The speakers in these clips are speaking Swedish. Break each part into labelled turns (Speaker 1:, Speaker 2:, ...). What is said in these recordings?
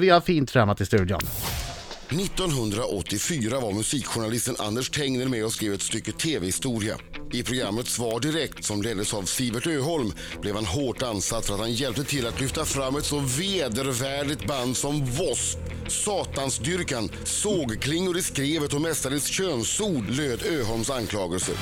Speaker 1: Vi har fint framåt i studion.
Speaker 2: 1984 var musikjournalisten Anders Tengner med och skrev ett stycke tv-historia. I programmet Svar direkt, som leddes av Sivert Öholm, blev han hårt ansatt för att han hjälpte till att lyfta fram ett så vedervärdigt band som W.A.S.P. Satansdyrkan, sågklingor i skrevet och mästarens könsord löd Öholms anklagelse.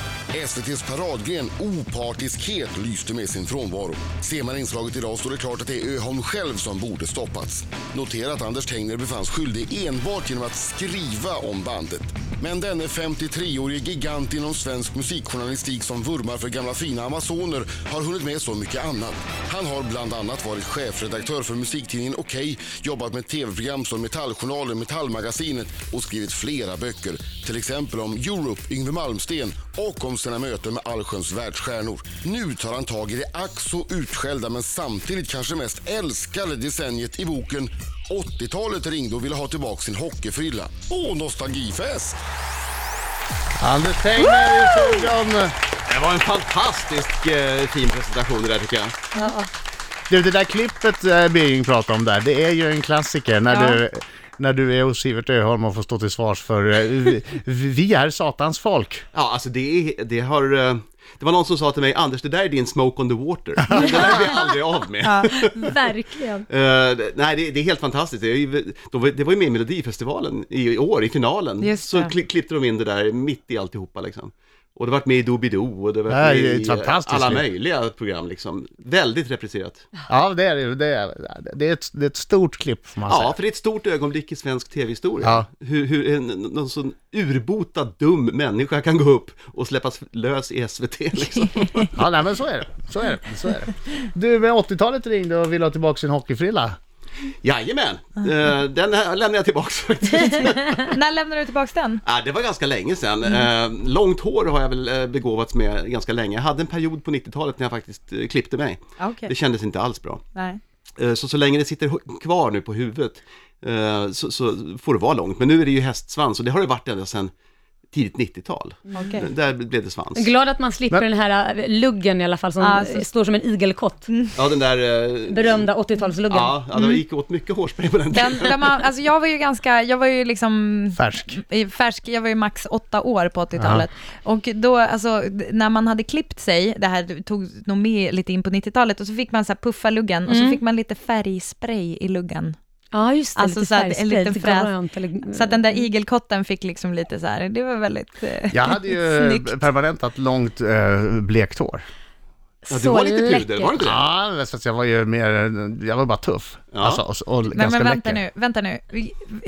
Speaker 2: SVTs paradgren opartiskhet lyste med sin frånvaro. Ser man inslaget idag står det klart att det är Öholm själv som borde stoppats. Notera att Anders Tengner befanns skyldig enbart genom att skriva om bandet. Men denne 53-årige gigant inom svensk musikjournalistik som vurmar för gamla fina amazoner har hunnit med så mycket annat. Han har bland annat varit chefredaktör för musiktidningen Okej, jobbat med tv-program som Metalljournalen, Metallmagasinet och skrivit flera böcker. Till exempel om Europe, Yngwie Malmsteen och om sina möten med allsköns världsstjärnor. Nu tar han tag i det ack så utskällda men samtidigt kanske mest älskade decenniet i boken 80-talet ringde och ville ha tillbaka sin hockeyfrilla. Åh, nostalgifest!
Speaker 1: Anders Tengner i studion.
Speaker 3: Det var en fantastisk eh, fin presentation det där tycker jag.
Speaker 1: Du, det där klippet eh, Birging pratade om där, det är ju en klassiker när
Speaker 4: Ja.
Speaker 1: du när du är hos Sivert Öholm och får stå till svars för eh, vi, vi är satans folk.
Speaker 3: Ja, alltså det, är- det har... eh, Det var någon som sa till mig, Anders det där är din smoke on the water. Det där blir jag aldrig av med.
Speaker 4: Ja, verkligen.
Speaker 3: Eh, det- nej, det, det är helt fantastiskt. Det, är ju- då var- det var ju med i Melodifestivalen i, i år, i finalen.
Speaker 4: Just
Speaker 3: så
Speaker 4: det.
Speaker 3: kli, klippte de in det där mitt i alltihopa liksom. Och det har varit med i Doobidoo och det har
Speaker 1: Det här
Speaker 3: varit
Speaker 1: är
Speaker 3: med
Speaker 1: ett
Speaker 3: i eh,
Speaker 1: fantastiskt
Speaker 3: alla
Speaker 1: liv.
Speaker 3: möjliga program liksom. Väldigt repriserat.
Speaker 1: Ja, det är det ju. det. Är, det, är ett, det är ett stort klipp får man
Speaker 3: Ja,
Speaker 1: säga.
Speaker 3: för det är ett stort ögonblick i svensk tv-historia.
Speaker 1: Ja.
Speaker 3: Hur, hur en, någon sån urbota dum människa kan gå upp och släppas lös i SVT liksom.
Speaker 1: Ja, nej, men så är det. Så är det. Så är det. Du, med 80-talet ringde och ville ha tillbaka sin hockeyfrilla.
Speaker 3: Jajamän, eh, den här lämnar jag tillbaks faktiskt.
Speaker 4: När lämnar du tillbaka den?
Speaker 3: Ah, det var ganska länge sedan. Eh, långt hår har jag väl eh, begåvats med ganska länge. Jag hade en period på 90-talet när jag faktiskt eh, klippte mig.
Speaker 4: Ja, Okej.
Speaker 3: Det kändes inte alls bra.
Speaker 4: Nej.
Speaker 3: Eh, Så så länge det sitter hu- kvar nu på huvudet eh, så, så får det vara långt. Men nu är det ju hästsvans och det har det varit ända sedan tidigt 90-tal.
Speaker 4: Okej.
Speaker 3: Där blev det svans.
Speaker 5: Glad att man slipper
Speaker 1: Men-
Speaker 5: den här äh, luggen i alla fall som
Speaker 4: Ja, alltså.
Speaker 5: står som en igelkott.
Speaker 3: Ja, den där... eh,
Speaker 5: Berömda 80-talsluggen.
Speaker 3: Ja, ja, det gick åt mycket hårspray på den tiden.
Speaker 4: Den, där man, alltså jag var ju ganska, jag var ju liksom
Speaker 1: Färsk.
Speaker 4: i färsk, jag var ju max åtta år på 80-talet. Och då, alltså, d- när man hade klippt sig, det här tog nog med lite in på 90-talet, och så fick man så här puffa luggen, och
Speaker 5: Mm.
Speaker 4: så fick man lite färgspray i luggen.
Speaker 5: Ja, just det.
Speaker 4: Alltså
Speaker 5: lite
Speaker 4: så att en
Speaker 5: färgspray,
Speaker 4: liten
Speaker 5: lite
Speaker 4: fräs-
Speaker 5: grönt eller-
Speaker 4: Så att den där
Speaker 1: Mm.
Speaker 4: igelkotten fick liksom lite så här, det var väldigt eh,
Speaker 1: Jag hade ju
Speaker 4: snyggt.
Speaker 1: permanentat långt eh, blekt hår.
Speaker 3: Ja, du
Speaker 5: Så
Speaker 3: var lite pudel,
Speaker 5: läckert.
Speaker 3: var du inte det?
Speaker 1: Ja, så att jag var ju mer, jag var bara tuff.
Speaker 3: Ja.
Speaker 1: Alltså, och, och
Speaker 4: Men,
Speaker 1: ganska
Speaker 4: men vänta
Speaker 1: läcker.
Speaker 4: nu, vänta nu.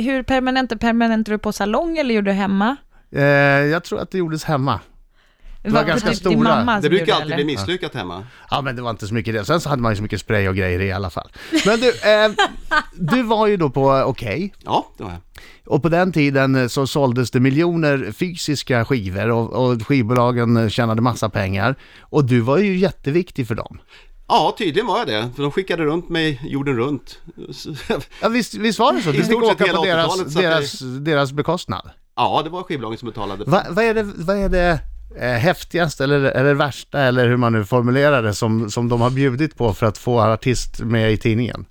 Speaker 4: Hur permanent, permanentar du på salong eller gjorde du hemma?
Speaker 1: Eh, jag tror att det gjordes hemma. var ganska
Speaker 4: typ din
Speaker 1: stora.
Speaker 4: mamma som
Speaker 3: Det
Speaker 4: gjorde
Speaker 3: brukar alltid
Speaker 4: eller?
Speaker 3: bli misslyckat hemma.
Speaker 1: Ja, men det var inte så mycket det. Sen så hade man ju så mycket spray och grejer i alla fall. Men du, eh, du var ju då på eh, Okej.
Speaker 3: Ja, det var jag.
Speaker 1: Och på den tiden eh, så såldes det miljoner fysiska skivor och, och skivbolagen eh, tjänade massa pengar. Och du var ju jätteviktig för dem.
Speaker 3: Ja, tydligen var jag det, för de skickade runt mig jorden runt. Så-
Speaker 1: Ja, visst, visst var det så?
Speaker 3: I
Speaker 1: Du fick
Speaker 3: stort sett
Speaker 1: åka
Speaker 3: hela
Speaker 1: på deras,
Speaker 3: 80-talet så att
Speaker 1: deras, deras bekostnad.
Speaker 3: Ja, det var skivbolagen som betalade.
Speaker 1: Va, vad är det, vad är det eh, häftigaste eller, eller värsta eller hur man nu formulerar det som, som de har bjudit på för att få artist med i tidningen?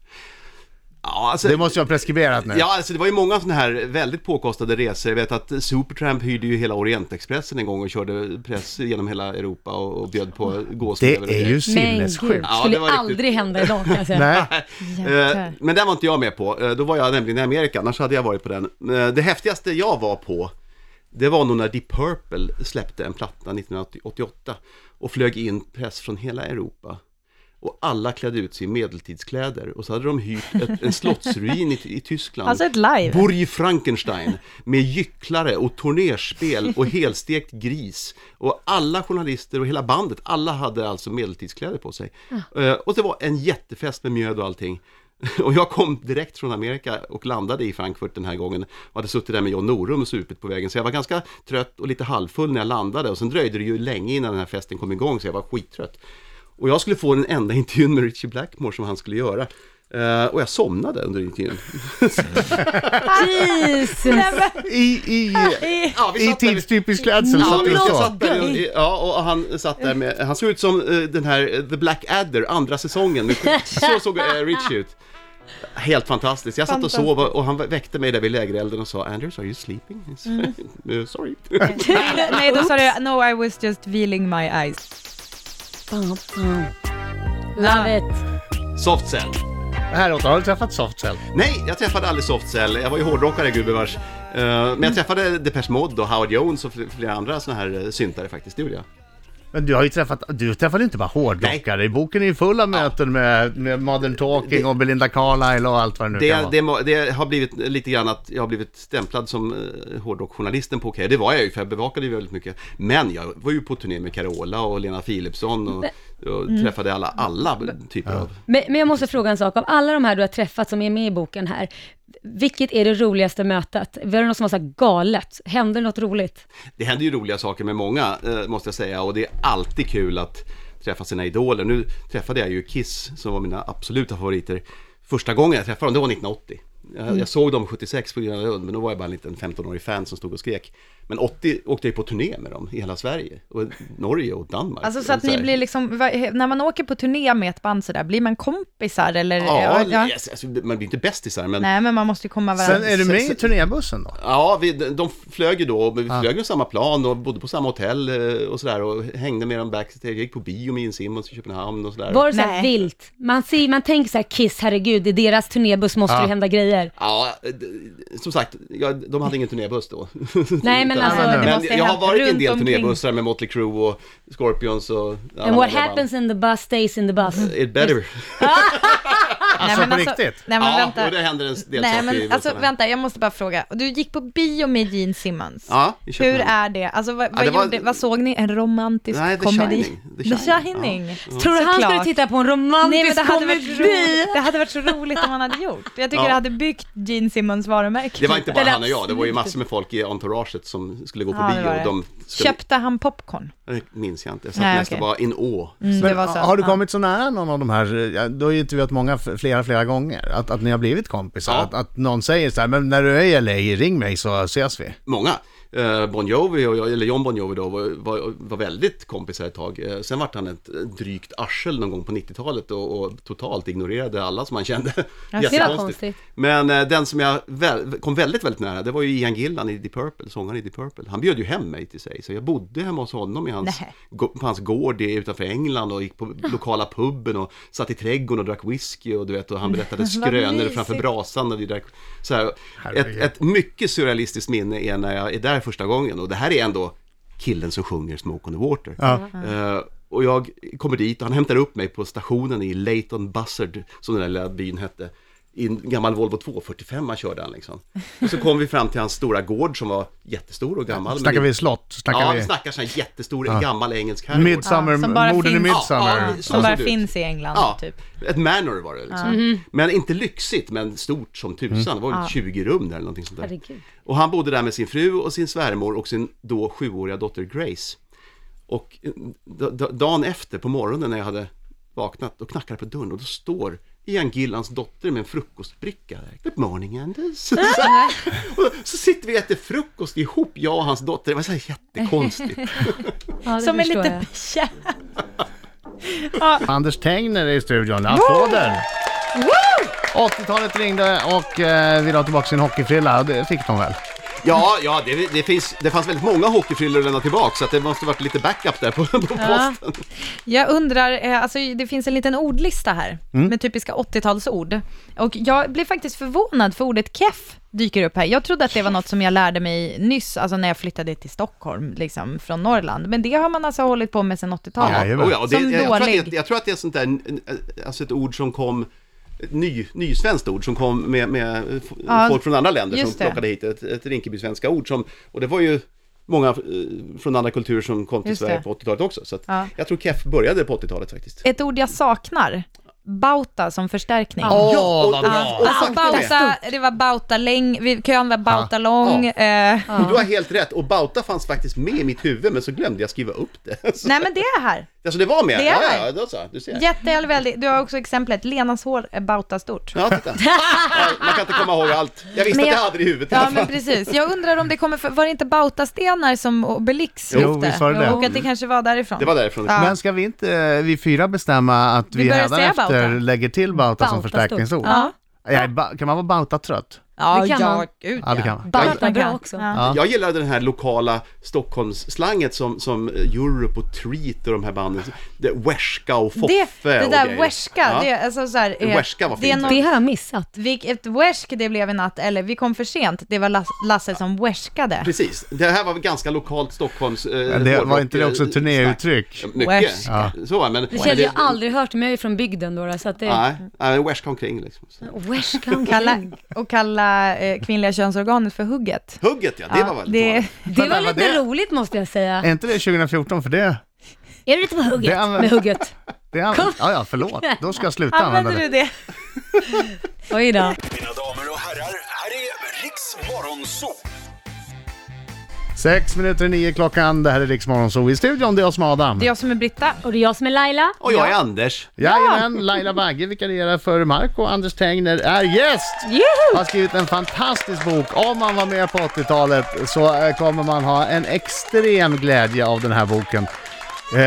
Speaker 3: Ja, alltså,
Speaker 1: Det måste jag ha preskriberat nu.
Speaker 3: Ja, alltså det var ju många sådana här väldigt påkostade resor. Jag vet att Supertramp hyrde ju hela Orientexpressen en gång och körde press genom hela Europa och, och bjöd på
Speaker 1: Det
Speaker 3: gåslever
Speaker 1: är
Speaker 3: och grejer.
Speaker 1: ju
Speaker 5: Men gud,
Speaker 1: sinnessjukt.
Speaker 3: Ja,
Speaker 5: skulle
Speaker 3: det var riktigt-
Speaker 5: aldrig hända idag kan jag säga.
Speaker 1: Nej,
Speaker 3: Eh, Men den var inte jag med på. Eh, Då var jag nämligen i Amerika, annars hade jag varit på den. Eh, Det häftigaste jag var på, det var nog när Deep Purple släppte en platta 1988 och flög in press från hela Europa. Och alla klädde ut sig i medeltidskläder och så hade de hyrt ett, en slottsruin i, i Tyskland.
Speaker 4: Alltså ett live.
Speaker 3: Borg Frankenstein med gycklare och turnerspel och helstekt gris. Och alla journalister och hela bandet, alla hade alltså medeltidskläder på sig. Eh, Och det var en jättefest med mjöd och allting. Och jag kom direkt från Amerika och landade i Frankfurt den här gången och hade suttit där med John Norum och supit på vägen. Så jag var ganska trött och lite halvfull när jag landade och sen dröjde det ju länge innan den här festen kom igång så jag var skittrött. Och jag skulle få den enda intervjun med Richie Blackmore som han skulle göra. Eh, och jag somnade under intervjun.
Speaker 5: Jesus!
Speaker 1: i, i,
Speaker 3: Ja, vi
Speaker 1: i
Speaker 3: satt där-
Speaker 1: tidstypisk klädsel
Speaker 3: Ja,
Speaker 1: satt du
Speaker 3: men
Speaker 1: och
Speaker 3: jag
Speaker 1: så.
Speaker 3: satt där, ja, och han satt där med, han såg ut som eh, den här eh, The Black Adder, andra säsongen. Så såg eh, Rich ut. Helt fantastiskt. Jag satt och
Speaker 4: Fantastiskt.
Speaker 3: sov och han väckte mig där vid lägerelden och sa Anders, are you sleeping? I said, "Eh, Sorry.
Speaker 4: Nej, då sa du no I was just feeling my eyes.
Speaker 5: Bam, bam. Love it.
Speaker 3: Soft cell.
Speaker 1: Häråt, har du träffat Softcell?
Speaker 3: Nej, jag träffade aldrig Soft Cell. Jag var ju hårdrockare gudbevars. Eh, Men jag träffade Depeche Mode och Howard Jones och fl- flera andra såna här eh, syntare faktiskt. Det gjorde jag.
Speaker 1: Men du har ju träffat, du träffade inte bara hårdrockare. I boken är ju full av möten med, med Modern Talking och Belinda Carlisle och allt vad det nu kan
Speaker 3: Det,
Speaker 1: vara.
Speaker 3: det, må- det har blivit lite grann att jag har blivit stämplad som eh, hårdrockjournalisten på Okej. Det var jag ju för jag bevakade ju väldigt mycket. Men jag var ju på turné med Carola och Lena Philipsson och, och träffade alla, alla typer av...
Speaker 5: Men, men jag måste fråga en sak. Av alla de här du har träffat som är med i boken här, vilket är det roligaste mötet? Var det något som var så här galet? Hände det något roligt?
Speaker 3: Det händer ju roliga saker med många, eh, måste jag säga, och det är alltid kul att träffa sina idoler. Nu träffade jag ju Kiss, som var mina absoluta favoriter. Första gången jag träffade dem, det var 1980. Jag,
Speaker 4: Mm.
Speaker 3: jag såg dem 76 på Gröna Lund, men då var jag bara en liten 15-årig fan som stod och skrek. Men 80 åkte jag ju på turné med dem i hela Sverige, och Norge och Danmark.
Speaker 4: Alltså så att ni
Speaker 3: här.
Speaker 4: blir liksom, va- när man åker på turné med ett band sådär, blir man kompisar eller?
Speaker 3: Ja,
Speaker 4: ja.
Speaker 3: yes, alltså, man blir inte bästisar, men...
Speaker 4: Nej, men man måste ju komma
Speaker 1: Sen
Speaker 4: varandra.
Speaker 1: är du med i turnébussen då?
Speaker 3: Ja, vi, de de flög ju då, men vi flög ju samma plan och bodde på samma hotell eh, och sådär och hängde med dem backstage, gick på bio med Gene Simmons i Köpenhamn och sådär.
Speaker 5: Var det så här
Speaker 4: Nej.
Speaker 5: vilt? Man, ser, man tänker så här, Kiss, herregud, i deras turnébuss måste det hända grejer.
Speaker 3: Ja, d- som sagt, ja, de hade ingen turnébuss då.
Speaker 5: Nej, men alltså, det
Speaker 3: men
Speaker 4: måste
Speaker 3: jag har
Speaker 4: ha
Speaker 3: varit i en
Speaker 4: runt
Speaker 3: del
Speaker 4: omkring.
Speaker 3: turnébussar med Motley Crue och Scorpions och... alla
Speaker 5: And what
Speaker 3: andra
Speaker 5: happens in the bus stays in the bus. Mm.
Speaker 3: band. It better.
Speaker 1: Alltså
Speaker 4: nej,
Speaker 1: på
Speaker 4: men
Speaker 1: riktigt?
Speaker 4: Nej, men
Speaker 3: Ja,
Speaker 4: vänta.
Speaker 3: och det händer en del
Speaker 4: Nej,
Speaker 3: saker i
Speaker 4: men alltså
Speaker 3: bussarna.
Speaker 4: vänta, jag måste bara fråga. Du gick på bio med Gene Simmons.
Speaker 3: Ja, i
Speaker 4: Hur
Speaker 3: Köpenhamn.
Speaker 4: är det? Alltså vad, vad,
Speaker 3: det var-
Speaker 4: gjorde, vad såg ni? En romantisk
Speaker 3: Nej, The
Speaker 4: komedi?
Speaker 3: Shining. The
Speaker 4: The
Speaker 3: Shining.
Speaker 4: Shining.
Speaker 5: Tror du han skulle
Speaker 4: Såklart.
Speaker 5: titta på en
Speaker 4: Nej, men
Speaker 5: romantisk
Speaker 4: det, hade varit
Speaker 5: komedi?
Speaker 4: roligt, det hade varit så roligt om han hade gjort. Jag tycker
Speaker 3: Ja.
Speaker 4: det hade byggt Gene Simmons varumärke.
Speaker 3: Det var inte bara
Speaker 5: Eller
Speaker 3: han och jag, det var ju massor med folk i entouraget som skulle gå på
Speaker 4: Ja, det
Speaker 3: bio
Speaker 4: var
Speaker 3: och
Speaker 4: det.
Speaker 3: de... Skulle,
Speaker 4: Köpte han popcorn?
Speaker 3: Det minns jag inte, jag satt
Speaker 4: Nej,
Speaker 3: nästan
Speaker 4: okej.
Speaker 3: bara in å.
Speaker 4: det var så.
Speaker 1: Har du
Speaker 4: Ja.
Speaker 1: kommit så nära någon av de här, eh, ja, du har ju intervjuat många f- flera, flera gånger, att, att ni har blivit kompisar,
Speaker 3: Ja.
Speaker 1: att, att någon säger så här, men när du är i LA, ring mig så ses vi.
Speaker 3: många. Eh, Bon Jovi, och jag, eller John Bon Jovi då, var, var, var väldigt kompisar ett tag. Eh, Sen vart han ett drygt arsel någon gång på 90-talet och, och totalt ignorerade alla som han kände.
Speaker 5: konstigt.
Speaker 3: Men eh, den som jag väl, kom väldigt, väldigt nära, det var ju Ian Gillan i Deep Purple, sångaren i Deep Purple. Han bjöd ju hem mig till sig, så jag bodde hemma hos honom i hans,
Speaker 4: Nähä. Ah.
Speaker 3: gå, på hans gård i- utanför England och gick på lokala puben och satt i trädgården och drack whisky och du vet, och han berättade skrönor
Speaker 4: mysigt.
Speaker 3: framför brasan och vi drack, så här, ett,
Speaker 1: Herregud.
Speaker 3: ett mycket surrealistiskt minne är när jag är där första gången och det här är ändå killen som sjunger Smoke on the Water. Eh, och jag kommer dit och han hämtar upp mig på stationen i Leighton Buzzard, som den där lilla byn hette. I en gammal Volvo 245 han körde han liksom. Och så kom vi fram till hans stora gård som var jättestor och gammal. men
Speaker 1: Snackar
Speaker 3: det-
Speaker 1: vi slott? Snackar
Speaker 3: Ja, vi
Speaker 1: vi
Speaker 3: snackar sån här jättestor gammal engelsk herrgård.
Speaker 1: Midsummer,
Speaker 4: Ja, som bara
Speaker 1: morden i
Speaker 4: finns-
Speaker 1: Midsummer? Alltså,
Speaker 3: Ja, ja, så-
Speaker 4: Som bara
Speaker 3: ser det ut.
Speaker 4: finns i England,
Speaker 3: Ja,
Speaker 4: typ. Mhm.
Speaker 3: ett manor var det liksom. Men inte lyxigt, men stort som tusan. Det var väl 20 rum där eller någonting sånt där.
Speaker 5: Herregud.
Speaker 3: Och han bodde där med sin fru och sin svärmor och sin då sjuåriga dotter Grace. Och eh, d- d- dagen efter på morgonen när jag hade vaknat och knackade på dörren och då står Ian Gillans dotter med en frukostbricka där. Good morning Anders! Så, och så sitter vi och äter frukost ihop, jag och hans dotter. Det var så här jättekonstigt.
Speaker 5: Ja, det
Speaker 4: Som är
Speaker 5: förstår
Speaker 4: lite
Speaker 5: jag.
Speaker 4: bekär.
Speaker 1: Anders Tengner är i studion, applåder! 80-talet ringde och eh, ville ha tillbaka sin hockeyfrilla, och det fick de väl?
Speaker 3: Ja, ja det, det, finns, det fanns väldigt många hockeyfrillor att lämna tillbaka så att det måste varit lite backup där på, på posten.
Speaker 4: Jag undrar, eh, alltså det finns en liten ordlista här med typiska 80-talsord. Och jag blev faktiskt förvånad för ordet keff dyker upp här. Jag trodde att det var något som jag lärde mig nyss, alltså när jag flyttade till Stockholm, liksom från Norrland. Men det har man alltså hållit på med sedan 80-talet.
Speaker 1: Ja,
Speaker 3: Oh, ja, och det,
Speaker 4: Som
Speaker 3: jag, jag, tror att
Speaker 4: dålig.
Speaker 3: det, jag tror att det är sånt där, n- n- alltså ett ord som kom, ett ny, nysvenskt ord som kom med, med f-
Speaker 4: Ja,
Speaker 3: folk från andra länder som
Speaker 4: just det.
Speaker 3: plockade hit ett, ett Rinkeby-svenska ord som, och det var ju många eh, från andra kulturer som kom till
Speaker 4: Just
Speaker 3: Sverige
Speaker 4: det.
Speaker 3: på 80-talet också. Så att
Speaker 4: Ja.
Speaker 3: jag tror keff började på 80-talet faktiskt.
Speaker 4: Ett ord jag saknar, bauta som förstärkning.
Speaker 1: Åh,
Speaker 3: och-
Speaker 1: vad
Speaker 3: och-
Speaker 1: bra!
Speaker 3: och-
Speaker 4: Alltså
Speaker 3: och-
Speaker 4: bauta, det var bauta läng, vi- kön var bauta lång. Eh,
Speaker 3: Och du har helt rätt, och Bauta fanns faktiskt med i mitt huvud men så glömde jag skriva upp det. Så,
Speaker 4: Nej men det är här.
Speaker 3: alltså det var med?
Speaker 4: Det är
Speaker 3: ja,
Speaker 4: det.
Speaker 3: ja, då så, du ser.
Speaker 4: Jätte eller väldigt, du har också exemplet, Lenas hår är bauta stort.
Speaker 3: Ja, titta. Ja, Man kan inte komma ihåg allt. Jag visste
Speaker 4: Men
Speaker 3: att jag
Speaker 4: jag-
Speaker 3: hade det i huvudet i
Speaker 4: Ja
Speaker 3: alla
Speaker 4: men
Speaker 3: fall.
Speaker 4: precis. Jag undrar om det kommer, för, var det inte bautastenar som Obelix
Speaker 1: Jo,
Speaker 4: lyfte?
Speaker 1: visst var det det.
Speaker 4: Och att det kanske var därifrån.
Speaker 3: Det var därifrån.
Speaker 4: Ja.
Speaker 1: Men ska vi inte eh, vi fyra bestämma att vi,
Speaker 4: börjar säga
Speaker 1: hädanefter
Speaker 4: Bauta.
Speaker 1: lägger till Bauta,
Speaker 5: Bauta
Speaker 1: som förstärkningsord?
Speaker 4: Ja.
Speaker 1: Jag är ba- kan man vara bautatrött?
Speaker 4: Ja,
Speaker 5: Det kan
Speaker 4: ja,
Speaker 5: man.
Speaker 4: gud
Speaker 1: Ja, det kan man.
Speaker 5: Balta
Speaker 4: Verkligen.
Speaker 5: bra också.
Speaker 4: Ja.
Speaker 1: Ja.
Speaker 3: Jag gillar den här lokala Stockholmsslanget som, som Europe och Treat och de här banden. Det, Werska och Foffe
Speaker 4: Det, det
Speaker 3: och
Speaker 4: där
Speaker 3: grejer.
Speaker 4: werska,
Speaker 3: Ja.
Speaker 4: det, är alltså så här, eh,
Speaker 3: Werska var
Speaker 4: det är
Speaker 3: fint.
Speaker 5: Det
Speaker 4: något,
Speaker 5: har jag missat.
Speaker 4: vi, ett wersk det blev i natt, eller vi kom för sent, det var Las- Lasse som werskade.
Speaker 3: Precis, det här var väl ganska lokalt Stockholms... eh,
Speaker 1: Men det, var
Speaker 3: hårdrock,
Speaker 1: inte det också
Speaker 3: eh,
Speaker 1: ett turnéuttryck?
Speaker 3: snack? Mycket.
Speaker 4: Werska.
Speaker 3: Så, men...
Speaker 5: Det känns ju aldrig hört, men jag är ju från bygden då, då så att det...
Speaker 3: Nej, nej, men Werska omkring liksom. Så.
Speaker 5: Wesh kan
Speaker 4: Kalla, och kalla eh, kvinnliga könsorganet för hugget.
Speaker 3: Hugget ja, det var väl
Speaker 4: det,
Speaker 5: Det var
Speaker 1: vad var
Speaker 5: lite
Speaker 1: det?
Speaker 5: roligt måste jag säga.
Speaker 1: Är inte det 2014? För det...
Speaker 5: Är du lite på hugget
Speaker 1: Det använder-
Speaker 5: med hugget?
Speaker 1: det är, ja, ja, förlåt. Då ska jag sluta använda
Speaker 4: Använder du
Speaker 1: det.
Speaker 4: det?
Speaker 5: Oj då.
Speaker 6: Mina damer och herrar, här är Riks Morgonzoo!
Speaker 1: Sex minuter i nio klockan. Det här är Rix Morgonzoo. I studion, det är jag som är Adam.
Speaker 4: Det är jag som är Britta.
Speaker 5: Och det är jag som är Laila.
Speaker 3: Och jag är Anders.
Speaker 1: Jajamän, Laila Bagge vikarierar för Marco Anders Tengner är gäst!
Speaker 4: Juhu!
Speaker 1: Har skrivit en fantastisk bok. Om man var med på 80-talet så eh, kommer man ha en extrem glädje av den här boken. Eh,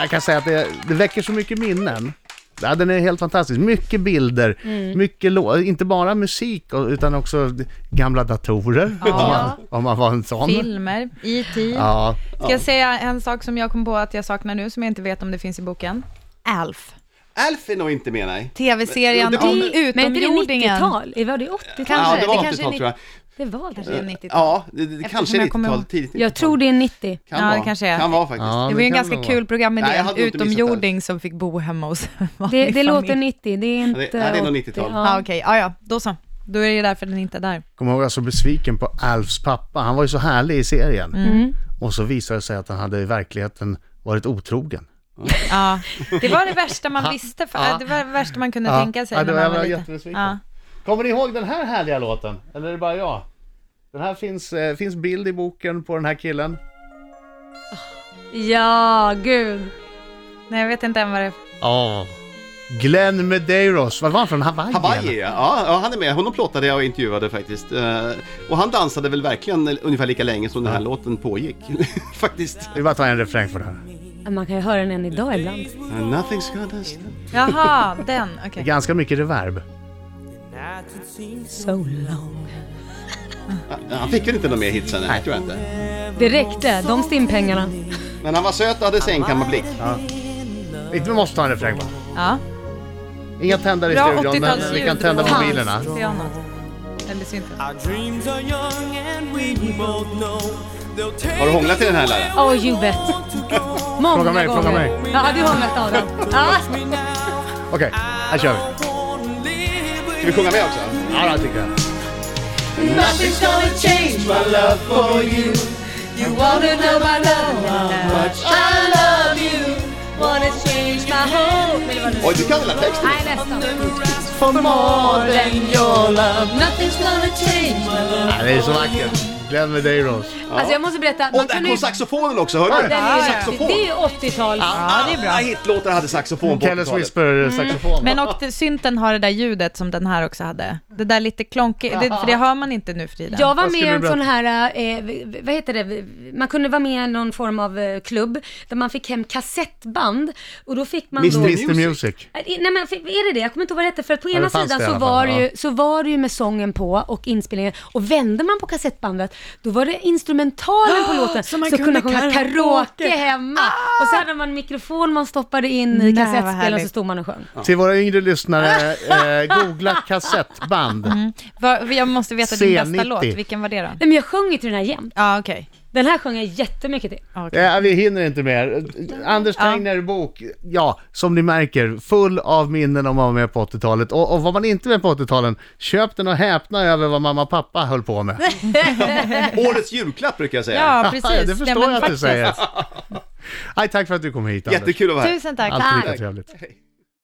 Speaker 1: jag kan säga att det, det väcker så mycket minnen. Ja, den är helt fantastisk. Mycket bilder, mycket lå- inte bara musik och- utan också gamla datorer. Om, man, om man var en sån.
Speaker 4: Filmer, IT.
Speaker 1: Ja,
Speaker 4: Ska jag säga en sak som jag kom på att jag saknar nu, som jag inte vet om det finns i boken? Alf.
Speaker 3: Alf är nog inte med nej.
Speaker 4: TV-serien
Speaker 3: Men-
Speaker 4: om
Speaker 3: men-
Speaker 5: Men är inte det
Speaker 4: utomjordingen.
Speaker 5: 90-tal? Var det 80-tal?
Speaker 3: Ja, det
Speaker 4: det
Speaker 3: var
Speaker 4: kanske är
Speaker 3: 80-tal tror jag.
Speaker 5: Det var det.
Speaker 4: Det är 90-tal.
Speaker 3: Ja, det, det kanske är
Speaker 4: jag kommer
Speaker 3: 90-tal,
Speaker 4: ihåg.
Speaker 3: tidigt 90-tal.
Speaker 5: Jag tror det är 90.
Speaker 3: Kan
Speaker 4: Ja, det
Speaker 3: vara.
Speaker 4: kanske är.
Speaker 3: Kan vara faktiskt.
Speaker 1: Ja,
Speaker 4: det var ju en
Speaker 1: kan
Speaker 4: ganska
Speaker 1: vara.
Speaker 4: kul
Speaker 3: Nej,
Speaker 4: programidé,
Speaker 3: jag hade
Speaker 4: en
Speaker 3: nog inte missat
Speaker 4: utomjording som fick bo hemma hos en
Speaker 5: Det,
Speaker 4: vanlig
Speaker 5: det låter
Speaker 4: familj.
Speaker 5: 90, det är inte
Speaker 3: det- nej, det är nog
Speaker 5: 80.
Speaker 3: 90-tal.
Speaker 4: Ja,
Speaker 5: Ja.
Speaker 4: okej. Ja, ja, då så. Då är det därför den inte är där.
Speaker 1: Kommer ihåg jag var så besviken på Alfs pappa. Han var ju så härlig i serien.
Speaker 4: Mm.
Speaker 1: Och så visade det sig att han hade i verkligheten varit otrogen.
Speaker 4: Ja. Ah. Det var det värsta man visste, för, det var det värsta man kunde
Speaker 1: Ja.
Speaker 4: tänka sig
Speaker 1: Ja, det
Speaker 4: när
Speaker 1: var- jag var
Speaker 4: man var liten. Ah.
Speaker 1: jättebesviken.
Speaker 4: Ja.
Speaker 1: Kommer ni ihåg den här härliga låten? Eller är det bara jag? Den här finns, eh, finns bild i boken på den här killen.
Speaker 5: ja, gud.
Speaker 4: Nej, jag vet inte än vad det är.
Speaker 1: Ja. Glenn Medeiros. Var var han från? Hawaii?
Speaker 3: Hawaii, ja. Ja, ja, han är med. Honom plåtade jag och intervjuade faktiskt. Eh, Och han dansade väl verkligen ungefär lika länge som den här låten pågick. faktiskt.
Speaker 1: Vi bara tar en refräng för den här.
Speaker 5: Man kan ju höra den än idag ibland.
Speaker 3: Nothing's gonna stop.
Speaker 4: Jaha, den. Okej.
Speaker 1: Det är Ganska mycket reverb.
Speaker 5: So long.
Speaker 3: Ja, Han fick väl inte några mer hits än det här, tror jag inte.
Speaker 5: Det räckte, de stimpengarna.
Speaker 3: Men han var söt och hade sängkammarblick.
Speaker 1: Inte vi måste ta en refräng va?
Speaker 4: Ja.
Speaker 1: Inga tändare i
Speaker 4: Bra
Speaker 1: studion men vi
Speaker 4: 80-talsljud.
Speaker 1: kan tända
Speaker 4: Fan.
Speaker 1: mobilerna.
Speaker 4: Piano. Eller synten.
Speaker 7: Our dreams are young and we both know they'll take
Speaker 3: Har du hånglat till den här Laila?
Speaker 5: Oh, you bet. Många
Speaker 1: Fråga mig,
Speaker 5: gånger.
Speaker 1: fråga mig.
Speaker 5: Ja, du har mött Adam. Ja.
Speaker 7: me now.
Speaker 1: Okej, här kör vi.
Speaker 7: I wanna live with
Speaker 3: Ska vi sjunga med också?
Speaker 1: Ja, det tycker jag.
Speaker 8: Nothing's gonna change my love for you. You wanna know my love, how much I love you. Wanna change my whole
Speaker 3: Oj, du kan väl ha texten?
Speaker 5: Nej, nästan.
Speaker 8: for more than your love. Nothing's gonna change my love.
Speaker 1: Ja, det är så vackert. Glenn Medeiros.
Speaker 5: Alltså jag måste berätta.
Speaker 3: Och
Speaker 5: man
Speaker 3: där
Speaker 5: kunde
Speaker 3: kom
Speaker 5: ju-
Speaker 3: saxofonen också, hörde du?
Speaker 5: Den är ju-
Speaker 3: Saxofon.
Speaker 5: Det är ju 80-tal.
Speaker 3: Ja, det är bra. Alla hitlåtar hade saxofon på
Speaker 1: Kelle's
Speaker 3: 80-talet.
Speaker 1: Whisper-saxofon.
Speaker 4: Mm. Men och det, synten har det där ljudet som den här också hade. Det där lite klonkiga, det, för det hör man inte nu för tiden.
Speaker 5: Jag var
Speaker 1: Vad
Speaker 5: med i
Speaker 1: skulle
Speaker 5: en
Speaker 1: du
Speaker 5: sån här, eh, v- vad heter det, man kunde vara med i någon form av eh, klubb där man fick hem kassettband och då fick man då...
Speaker 1: Mr Music.
Speaker 5: Eh, Nej men fi- är det det? Jag kommer inte ihåg vad det hette för att på ena
Speaker 1: fanns
Speaker 5: sidan
Speaker 1: det i
Speaker 5: så
Speaker 1: alla fall,
Speaker 5: var, det
Speaker 1: ja.
Speaker 5: ju, så var det ju med sången på och inspelningen och vände man på kassettbandet då var det instrumentalen på låten så,
Speaker 4: Ah, man
Speaker 5: kunde
Speaker 4: kunde
Speaker 5: man sjunga
Speaker 4: karaoke.
Speaker 5: karaoke hemma och så hade man en mikrofon man stoppade in i
Speaker 4: Nej, vad
Speaker 5: kassettspelaren
Speaker 4: härligt.
Speaker 5: så stod man och sjöng.
Speaker 1: Till våra yngre lyssnare, eh, googla kassettband.
Speaker 4: Mm. Vad- jag måste veta din bästa
Speaker 1: C90.
Speaker 4: låt, vilken var det då?
Speaker 5: Nej men jag sjöng ju till den här jämt.
Speaker 4: Ja, okej.
Speaker 5: Den här sjöng jag jättemycket till.
Speaker 1: Eh, vi hinner inte mer. Anders Tegner bok, ja, som ni märker, full av minnen om man var med på 80-talet. Och, och var man inte med på 80-talen, köp den och häpna över vad mamma och pappa höll på med.
Speaker 3: Årets julklapp brukar jag säga.
Speaker 4: Ja,
Speaker 1: det
Speaker 4: precis.
Speaker 1: förstår
Speaker 4: Nej, men
Speaker 1: jag att du
Speaker 4: faktiskt.
Speaker 1: säger. Nej, tack för att du kom hit Anders.
Speaker 3: Jättekul att vara här.
Speaker 4: Tusen tack.
Speaker 1: Alltid lika trevligt.
Speaker 3: Hej.